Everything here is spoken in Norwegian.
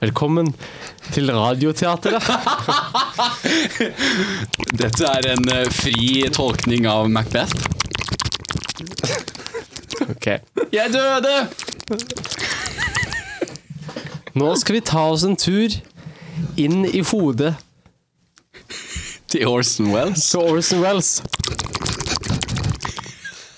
Velkommen til Radioteatret. Dette er en eh, fri tolkning av Macbeth. Ok. Jeg døde! Nå skal vi ta oss en tur inn i hodet Til Orson Wells. til Orson Welles.